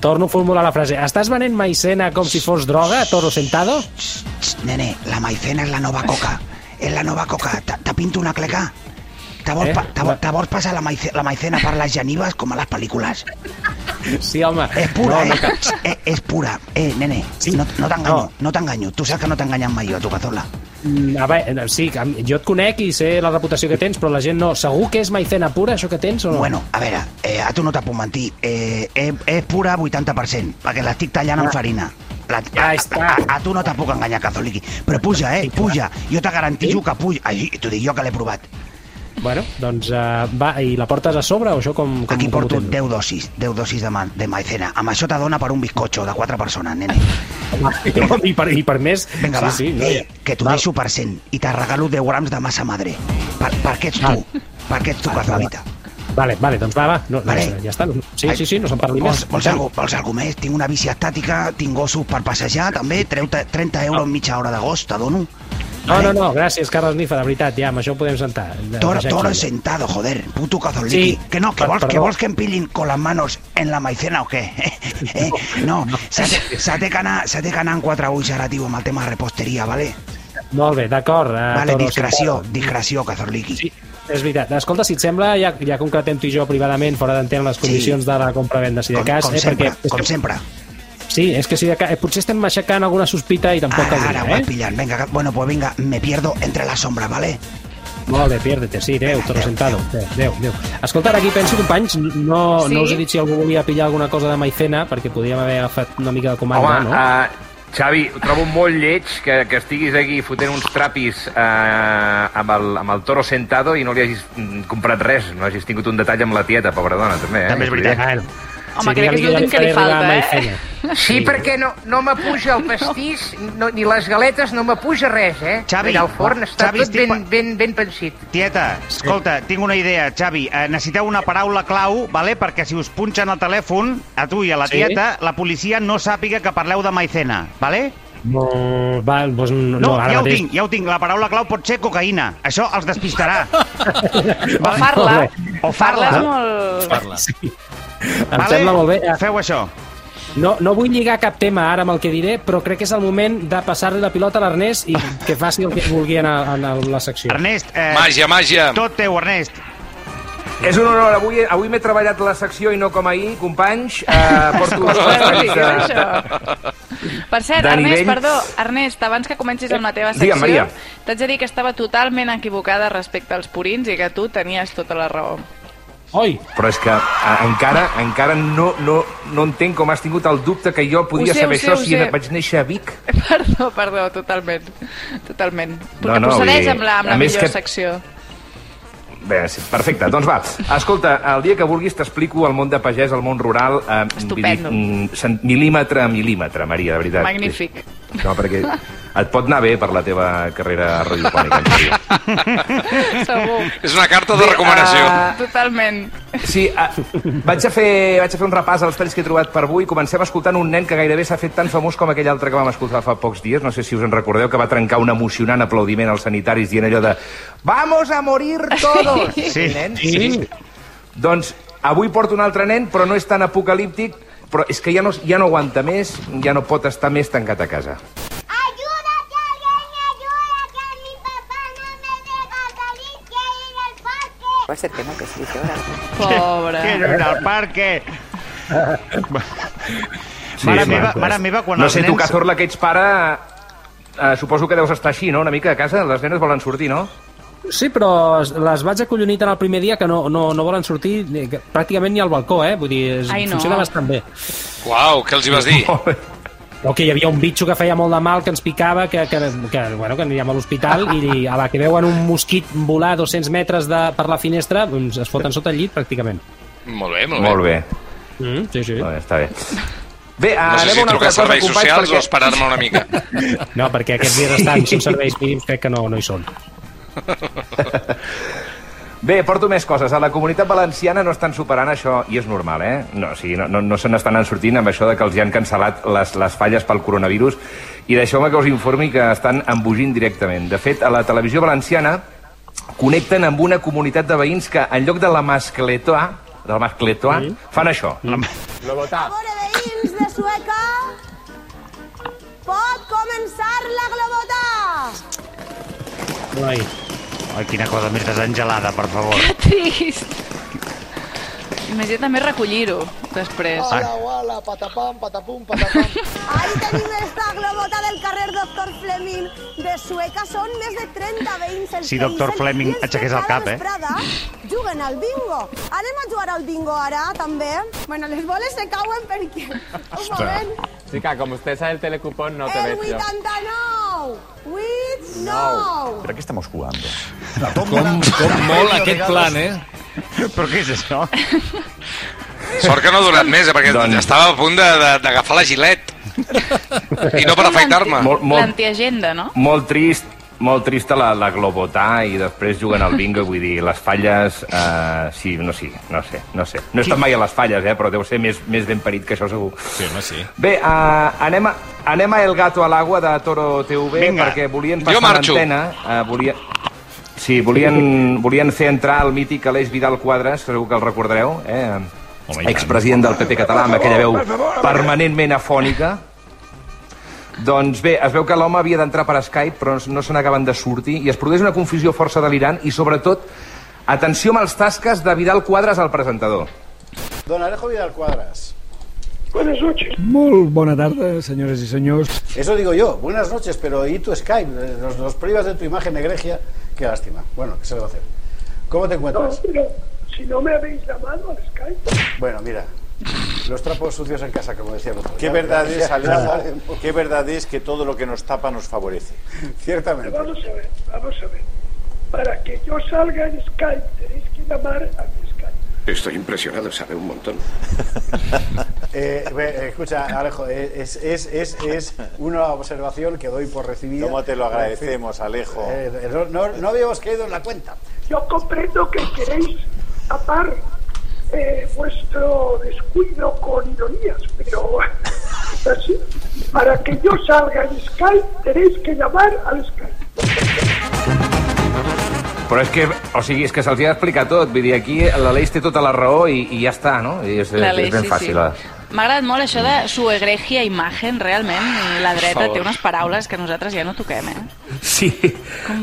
Speaker 3: Torno a formular la frase. Estàs venent maicena com si fos droga, toro sentado?
Speaker 1: Xt, xt, nene, la maicena és la nova coca. És la nova coca. Te, te pinto una cleca? Te vols,
Speaker 3: Eh?
Speaker 1: pa, te,
Speaker 3: Va.
Speaker 1: vols- te vols passar la, maice, la maicena per les genives com a les pel·lícules?
Speaker 3: Sí, home.
Speaker 1: És pura,
Speaker 3: no, no,
Speaker 1: eh? eh? És pura. Eh, nene,
Speaker 3: Sí.
Speaker 1: no, no t'enganyo,
Speaker 3: No.
Speaker 1: no, t'enganyo. Tu saps que no t'enganyem mai jo, tu, cazola.
Speaker 3: Mm, A veure, sí, a mi- jo et conec i sé la reputació que tens, però la gent no. Segur que és maicena pura, això que tens, o no?
Speaker 1: Bueno, a veure, eh, a tu no t'ha puc mentir. Eh, és, és pura 80%, perquè l'estic tallant amb farina. La,
Speaker 3: Ah. Ja
Speaker 1: a,
Speaker 3: està.
Speaker 1: a, a, tu no te puc enganyar, Cazoliqui. Però puja, eh? Puja. Jo te garantillo que puja. Ai, t'ho dic jo que l'he provat.
Speaker 3: bueno doncs uh, va, i la portes a sobre, o això com... com
Speaker 1: Aquí
Speaker 3: com ho
Speaker 1: porto
Speaker 3: tens?
Speaker 1: 10 dosis, 10 dosis de, ma de maicena. Amb això te dona per un bizcocho de 4 persones, nene.
Speaker 3: I per, I per més...
Speaker 1: Vinga, va,
Speaker 3: sí, sí, no,
Speaker 1: Ei,
Speaker 3: ja.
Speaker 1: que t'ho
Speaker 3: Val.
Speaker 1: deixo per 100 i te regalo 10 grams de massa madre. Per, perquè ets tu, perquè ets tu, Cazolita.
Speaker 3: Vale, vale, doncs va, va. No,
Speaker 1: Vale.
Speaker 3: no, ja està. no- Sí,
Speaker 1: Ai,
Speaker 3: sí, sí, no se'n parli
Speaker 1: vols,
Speaker 3: més.
Speaker 1: Vols, algo, vols algo més? Tinc una bici estàtica, tinc gossos per passejar, també. Treu 30
Speaker 3: Ah.
Speaker 1: euros en mitja hora de gos, te dono.
Speaker 3: No, no, no, gràcies, Carles Nifa, de veritat, ja, amb això podem sentar. De-
Speaker 1: Toro,
Speaker 3: deixar
Speaker 1: toro
Speaker 3: aquí.
Speaker 1: sentado, joder, puto cazoliqui.
Speaker 3: Sí.
Speaker 1: Que no, que
Speaker 3: Per-
Speaker 1: vols, que
Speaker 3: perdó.
Speaker 1: vols que em pillin con las manos en la maicena o què? Eh? No, s'ha de- s'ha de canar, s'ha de canar en quatre ulls ara, tio, amb el tema reposteria, vale?
Speaker 3: Molt bé, d'acord. eh,
Speaker 1: Vale,
Speaker 3: Toro
Speaker 1: discreció,
Speaker 3: Sentado.
Speaker 1: discreció, cazoliqui.
Speaker 3: Sí, és veritat. Escolta, si et sembla, ja, ja concretem tu i jo privadament, fora d'entendre les condicions de la compra-venda, si de
Speaker 1: Com,
Speaker 3: cas.
Speaker 1: com
Speaker 3: eh,
Speaker 1: sempre,
Speaker 3: perquè,
Speaker 1: com sempre.
Speaker 3: Sí, és que si de cas, eh, potser estem aixecant alguna sospita i tampoc
Speaker 1: Ara, ara, ho
Speaker 3: caldria,
Speaker 1: has
Speaker 3: eh?
Speaker 1: pillat. Venga, bueno, pues venga, me pierdo entre las sombras, ¿vale?
Speaker 3: Molt bé, piérdete, sí, adeu, toro
Speaker 1: Adeu,
Speaker 3: sentado. Adeu, adeu. Escolta, ara aquí penso, companys, no,
Speaker 4: Sí?
Speaker 3: no us he dit si algú volia pillar alguna cosa de maicena, perquè podíem haver agafat una mica de comanda, no?
Speaker 5: Home, uh, Xavi, ho trobo molt lleig que, que estiguis aquí fotent uns trapis uh, amb, el, amb el toro sentado i no li hagis mm, comprat res, no hagis tingut un detall amb la tieta, pobra dona, també. Eh?
Speaker 1: També és veritat.
Speaker 3: Bueno,
Speaker 4: Home, crec
Speaker 3: digue-li
Speaker 4: que és l'últim que li
Speaker 3: faré arribar
Speaker 4: falta, eh?
Speaker 3: maicena.
Speaker 7: Sí, perquè no, no m'apuja el pastís, no, ni les galetes, no m'apuja res, eh?
Speaker 1: Xavi,
Speaker 7: Allà al forn
Speaker 1: va,
Speaker 7: està
Speaker 1: Xavi,
Speaker 7: tot
Speaker 1: estic
Speaker 7: ben,
Speaker 1: pa-
Speaker 7: ben, ben pensit.
Speaker 1: Tieta, escolta, tinc una idea, Xavi. Eh, necessiteu una paraula clau, vale? perquè si us punxen el telèfon, a tu i a la
Speaker 3: Sí.
Speaker 1: tieta, la policia no sàpiga que parleu de maicena, vale?
Speaker 3: No, va, doncs no,
Speaker 2: No,
Speaker 3: ara
Speaker 2: ja ho
Speaker 3: mateix-
Speaker 2: tinc, ja ho tinc. La paraula clau pot ser cocaïna. Això els despistarà. o
Speaker 4: farla.
Speaker 2: O farla.
Speaker 4: Farla és molt-
Speaker 2: Farla.
Speaker 3: Em sembla molt bé. eh.
Speaker 2: Feu això.
Speaker 3: No, no vull lligar cap tema ara amb el que diré, però crec que és el moment de passar-li la pilota a l'Ernest i que faci el que vulgui en, el- en la secció.
Speaker 2: Ernest, eh,
Speaker 1: Màgia, màgia.
Speaker 2: Tot teu, Ernest.
Speaker 5: És un honor, avui, avui m'he treballat la secció i no com ahir, companys. Eh, porto dues
Speaker 4: Bueno,
Speaker 5: coses.
Speaker 4: digues
Speaker 5: eh,
Speaker 4: Per cert,
Speaker 5: de
Speaker 4: Ernest,
Speaker 5: nivell- Eh,
Speaker 4: perdó, Ernest, abans que comencis amb la teva secció,
Speaker 5: Digue'm, Maria.
Speaker 4: t'haig de dir que estava totalment equivocada respecte als purins i que tu tenies tota la raó.
Speaker 3: Oi!
Speaker 5: Però és que a, encara encara no, no, no entenc com has tingut el dubte que jo podia
Speaker 4: Ho sé,
Speaker 5: saber
Speaker 4: ho sé,
Speaker 5: això
Speaker 4: ho
Speaker 5: si
Speaker 4: sé.
Speaker 5: vaig néixer a Vic.
Speaker 4: Perdó, perdó, totalment. Totalment.
Speaker 5: No,
Speaker 4: Perquè
Speaker 5: no, vull
Speaker 4: procedeix
Speaker 5: dir,
Speaker 4: amb la, amb
Speaker 5: a
Speaker 4: la
Speaker 5: més
Speaker 4: millor
Speaker 5: que-
Speaker 4: secció.
Speaker 5: Bé, sí, perfecte, doncs va. Escolta, el dia que vulguis t'explico el món de pagès, el món rural... Eh,
Speaker 4: Estupendo.
Speaker 5: vull dir, mm, cent- milímetre a milímetre, Maria, de veritat.
Speaker 4: Magnífic.
Speaker 5: No, perquè et pot anar bé per la teva carrera radiofònica. en Maria.
Speaker 4: Segur.
Speaker 1: És una carta de
Speaker 5: Bé,
Speaker 1: recomanació.
Speaker 5: ah,
Speaker 4: Totalment.
Speaker 5: Sí, ah, vaig, a fer, vaig a fer un repàs als talls que he trobat per avui. Comencem escoltant un nen que gairebé s'ha fet tan famós com aquell altre que vam escoltar fa pocs dies. No sé si us en recordeu, que va trencar un emocionant aplaudiment als sanitaris dient allò de «Vamos a morir todos!»
Speaker 2: Sí.
Speaker 5: nen? Doncs avui porto un altre nen, però no és tan apocalíptic, però és que ja no, ja no aguanta més, ja no pot estar més tancat a casa.
Speaker 12: ¡Ayuda, que alguien me ayuda! ¡Que mi papá no me deja salir! ¡Quiero ir al parque!
Speaker 13: Pues el tema que sí, que ahora.
Speaker 4: Pobre.
Speaker 2: Quiero ir al parque.
Speaker 5: Sí,
Speaker 2: mare,
Speaker 5: sí,
Speaker 13: pues.
Speaker 2: meva,
Speaker 5: clar.
Speaker 2: mare meva, quan
Speaker 5: No
Speaker 2: els
Speaker 5: sé,
Speaker 2: nens...
Speaker 5: tu, Cazorla, que ets pare, eh, suposo que deus estar així, no?, una mica a casa. Les nenes volen sortir, no?
Speaker 3: Sí, però es- les vaig acollonir tant el primer dia que no, no, no volen sortir ni- que- pràcticament ni al balcó, eh? Vull dir, es,
Speaker 4: Ai, no.
Speaker 3: funciona bastant bé.
Speaker 1: Uau, què els hi vas dir?
Speaker 3: O que hi havia un bitxo que feia molt de mal, que ens picava, que, que, que, bueno, que aniríem a l'hospital i a la que veuen un mosquit volar 200 metres de, per la finestra, doncs es foten sota el llit pràcticament.
Speaker 1: Molt bé, molt bé.
Speaker 5: Molt bé.
Speaker 3: Mm, sí, sí.
Speaker 5: Molt bé, està bé. Bé, ah,
Speaker 1: No sé si trucar a serveis socials o esperar-me una mica.
Speaker 3: No, perquè aquests dies estan són serveis mínims, crec que no, no hi són.
Speaker 5: Bé, porto més coses. A la comunitat valenciana no estan superant això, i és normal, eh? No, o sigui, no, no, no se n'estan sortint amb això de que els hi han cancel·lat les, les falles pel coronavirus, i deixeu-me que us informi que estan embogint directament. De fet, a la televisió valenciana connecten amb una comunitat de veïns que, en lloc de la mascletoa, del mascletoa, fan això.
Speaker 12: Veïns de Sueca, pot començar la globota!
Speaker 3: Ai.
Speaker 2: Ai, quina cosa més desangelada, per favor.
Speaker 4: Trist. Imagina també recollir-ho després.
Speaker 2: Hola,
Speaker 5: Ah,
Speaker 12: hola, patapam, patapum, patapam. Ahí tenim esta globota del carrer Doctor Fleming. De Sueca són més de 30 veïns els
Speaker 2: Si
Speaker 12: que
Speaker 2: Doctor
Speaker 12: hi són
Speaker 2: Fleming
Speaker 12: i els que
Speaker 2: aixequés el
Speaker 12: cada
Speaker 2: cap, eh?
Speaker 12: vesprada juguen al bingo. Anem a jugar al bingo ara, també. Bueno, les boles se cauen perquè... Un moment.
Speaker 14: Chica, como usted sabe el telecupón, no te
Speaker 12: El
Speaker 14: ves yo.
Speaker 12: 89! 8,
Speaker 14: No.
Speaker 12: 9!
Speaker 14: ¿Pero qué estamos jugando?
Speaker 6: Com, com molt aquest plan, eh?
Speaker 2: Però què és això?
Speaker 1: Sort que no ha durat més, eh, perquè
Speaker 6: Doncs-
Speaker 1: estava a punt de- de- d'agafar la gilet. I no per afaitar-me.
Speaker 5: Molt, molt,
Speaker 4: L'antiagenda, no?
Speaker 5: molt trist molt trista la, la globotà i després juguen al bingo, vull dir, les falles... Eh, sí, no, sí, no sé, no sé. No he estat mai a les falles, eh, però deu ser més, més ben parit que això segur.
Speaker 6: Sí, home, sí.
Speaker 5: Bé, eh, anem, a, anem a El Gato a l'Agua de Toro TV,
Speaker 6: Vinga.
Speaker 5: perquè volien
Speaker 6: Jo
Speaker 5: passar
Speaker 6: marxo.
Speaker 5: l'antena. Eh, volia... Sí, volien, volien fer entrar el mític Aleix Vidal Quadres, segur que el recordareu, eh? expresident del PP català amb aquella veu permanentment afònica. Doncs bé, es veu que l'home havia d'entrar per Skype, però no se n'acaben de sortir, i es produeix una confusió força delirant, i sobretot, atenció amb els tasques de Vidal Quadres al presentador.
Speaker 15: Don Alejo Vidal Cuadras.
Speaker 16: Buenas noches. Muy buena tarde, señores y señores.
Speaker 15: Eso digo yo, buenas noches, pero ¿y tu Skype? Eh, Nos, nos privas de tu imagen egregia. Qué lástima. Bueno, ¿qué se le va a hacer? ¿Cómo te
Speaker 16: No,
Speaker 15: encuentras?
Speaker 16: pero si no me habéis llamado al Skype.
Speaker 15: Bueno, mira, los trapos sucios en casa, como decía el otro.
Speaker 17: ¿Qué
Speaker 15: Ya-
Speaker 17: verdad
Speaker 15: ya-
Speaker 17: es,
Speaker 15: ya
Speaker 17: Alejo?
Speaker 15: hablaremos.
Speaker 17: ¿Qué verdad es que todo lo que nos tapa nos favorece?
Speaker 16: Pero Vamos a ver, vamos a ver. Para que yo salga en Skype tenéis que llamar a mi Skype.
Speaker 18: Estoy impresionado, sabe un montón.
Speaker 15: Eh, ve, eh, escucha, Alejo, eh, es, es, es, es una observación que doy por recibida.
Speaker 17: ¿Cómo te lo agradecemos, Alejo?
Speaker 15: Eh, eh, no, no- no habíamos caído en la cuenta.
Speaker 16: Yo comprendo que queréis tapar eh, vuestro descuido con ironías, pero Así, Para que yo salga en Skype tenéis que llamar al Skype.
Speaker 5: Però és que, o sigui, és que se'ls hi ha d'explicar tot. Vull dir, aquí l'Aleix té tota la raó i, i ja està, no? I és, és,
Speaker 4: L'Aleix,
Speaker 5: és ben
Speaker 4: sí,
Speaker 5: fàcil. eh?
Speaker 4: sí. M'ha agradat molt això de
Speaker 5: Mm.
Speaker 4: su egregia imagen, realment. I la
Speaker 5: Per
Speaker 4: dreta
Speaker 5: favor.
Speaker 4: té unes paraules que nosaltres ja no toquem, eh?
Speaker 5: Sí,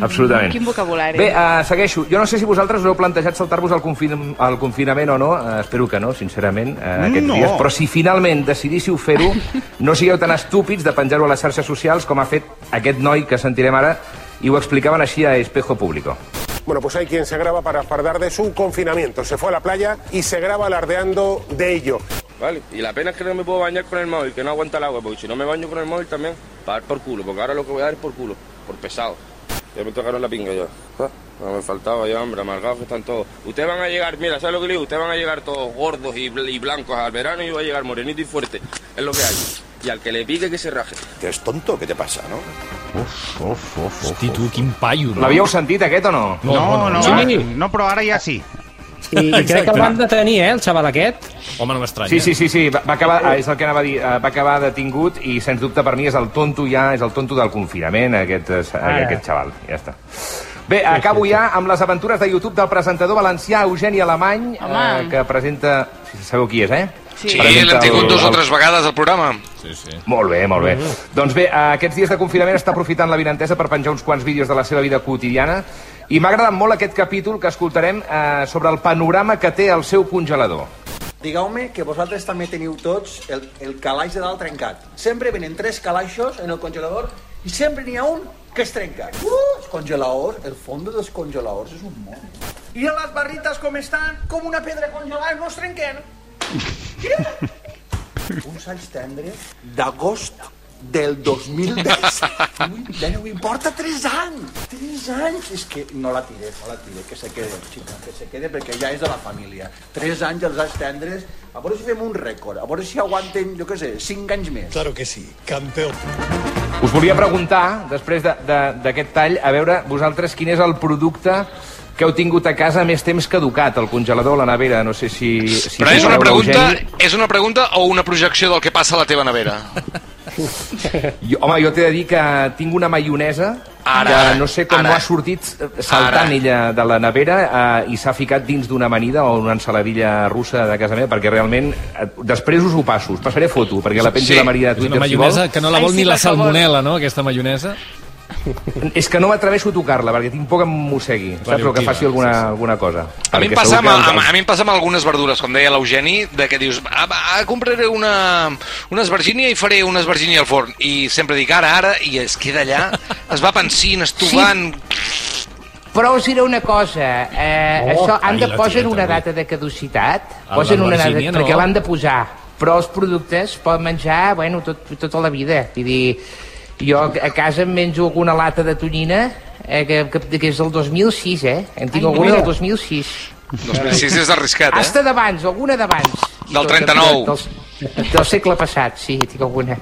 Speaker 5: absolutament.
Speaker 4: Quin vocabulari.
Speaker 5: Bé, uh, segueixo. Jo no sé si vosaltres us heu plantejat saltar-vos al, confin al confinament o no. Uh, espero que no, sincerament, uh, aquests
Speaker 3: No.
Speaker 5: dies. Però si finalment decidíssiu fer-ho, no sigueu tan estúpids de penjar-ho a les xarxes socials com ha fet aquest noi que sentirem ara i ho explicaven així a Espejo Público.
Speaker 13: Bueno, pues hay quien se graba para fardar de su confinamiento. Se fue a la playa y se graba alardeando de ello.
Speaker 19: Vale, y la pena es que no me puedo bañar con el móvil, que no aguanta el agua, porque si no me baño con el móvil también, para dar por culo, porque ahora lo que voy a dar es por culo, por pesado. Ya me tocaron la pinga yo. Ah, No me faltaba ya, hombre, amargados que están todos. Ustedes van a llegar, mira, ¿sabes lo que le digo? Ustedes van a llegar todos gordos y, bl- y blancos al verano y yo voy a llegar morenito y fuerte. Es lo que hay. Y al que le pique que se raje. Que es tonto, ¿qué te pasa, no?
Speaker 5: Uf, uf, uf,
Speaker 20: Hosti, tu, quin paio, no?
Speaker 5: L'havíeu sentit, aquest, o no?
Speaker 3: No, no, no, no,
Speaker 21: Sí.
Speaker 3: no però ara ja sí.
Speaker 21: I, i crec que el van detenir, eh, el xaval aquest.
Speaker 20: Home, no m'estranya.
Speaker 5: Sí, sí, sí, sí, va, va acabar, ah, és el que anava a dir, eh, va acabar detingut i, sens dubte, per mi és el tonto ja, és el tonto del confinament, aquest, eh,
Speaker 20: Ara.
Speaker 5: aquest xaval, ja està. Bé, acabo ja amb les aventures de YouTube del presentador valencià Eugeni Alemany, eh,
Speaker 2: Home.
Speaker 5: que presenta... Sabeu qui és, eh?
Speaker 2: Sí, l'hem tingut
Speaker 5: dos
Speaker 2: dues o tres vegades al programa.
Speaker 20: Sí, sí.
Speaker 5: Molt bé, molt bé. Doncs bé, eh, aquests dies de confinament està aprofitant la vinentesa per penjar uns quants vídeos de la seva vida quotidiana i m'ha agradat molt aquest capítol que escoltarem eh, sobre el panorama que té el seu congelador.
Speaker 22: Digueu-me que vosaltres també teniu tots el, el calaix de dalt trencat. Sempre venen tres calaixos en el congelador i sempre n'hi ha un que es trenca. Uh, els congeladors, el fons dels congeladors és un món.
Speaker 23: I les barrites com estan? Com una pedra congelada, no es trenquen.
Speaker 22: Uns anys tendres d'agost del 2010. Ui, ja no m'importa 3 anys. 3 anys. És que no la tiré, no la tiré, que se quede, xica, que se quede, perquè ja és de la família. 3 anys els anys tendres. A veure si fem un rècord, a veure si aguanten, jo què sé, 5 anys més. Claro que sí, campeón.
Speaker 5: Us volia preguntar, després de- de- d'aquest tall, a veure vosaltres quin és el producte que heu tingut a casa més temps caducat, el congelador, la nevera, no sé si... si
Speaker 2: Però és una
Speaker 5: teniu
Speaker 2: pregunta,
Speaker 5: Eugeni.
Speaker 2: és una pregunta o una projecció del que passa a la teva nevera?
Speaker 5: Jo, home, jo t'he de dir que tinc una maionesa
Speaker 2: Ara,
Speaker 5: que no sé com
Speaker 2: ara.
Speaker 5: no ha sortit saltant
Speaker 2: Ara.
Speaker 5: ella de la nevera eh, i s'ha ficat dins d'una amanida o una ensaladilla russa de casa meva, perquè realment eh, després us ho passo, us passaré foto, perquè la penjo
Speaker 20: Sí.
Speaker 5: a la Maria de
Speaker 20: És una
Speaker 5: Twitter, si
Speaker 20: maionesa
Speaker 5: vol.
Speaker 20: que no la vol ni la salmonela, no, aquesta maionesa?
Speaker 5: És que no m'atreveixo a tocar-la, perquè tinc por que em mossegui, saps? Però que
Speaker 20: Radioactiva,
Speaker 5: faci alguna, alguna cosa.
Speaker 2: A mi, em passa amb, amb, a mi em passa amb algunes verdures, com deia l'Eugeni, de que dius, ah, va, ah, compraré una, una esvergínia i faré una esvergínia al forn. I sempre dic, ara, ara, i es queda allà, es va pensint, estovant...
Speaker 7: Però us diré una cosa, eh,
Speaker 2: Oh,
Speaker 7: oh, això han
Speaker 2: ai,
Speaker 7: de
Speaker 2: la
Speaker 7: posar
Speaker 2: tieta,
Speaker 7: una
Speaker 2: avui.
Speaker 7: data de caducitat, A posen una data, l'Albergínia, no. perquè l'han de posar, però els productes poden menjar, bueno, tot, tota la vida, vull dir, jo a casa em menjo alguna lata de tonyina, eh, que, que, que és del 2006, eh, en tinc
Speaker 2: Ai, mira.
Speaker 7: alguna del 2006.
Speaker 2: 2006 és arriscat, eh?
Speaker 7: Hasta d'abans, alguna d'abans.
Speaker 2: Del 39.
Speaker 7: Del, del segle passat, sí, tinc alguna.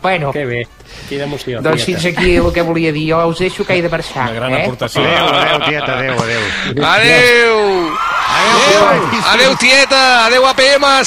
Speaker 7: Bueno. Que bé,
Speaker 21: quina emoció.
Speaker 7: Doncs fins aquí el que volia dir. Jo us deixo que he de marxar. Una gran eh?
Speaker 20: aportació.
Speaker 3: Adéu, adéu, tieta, adéu, adéu.
Speaker 2: Adéu! Adéu, tieta! Adéu, APM!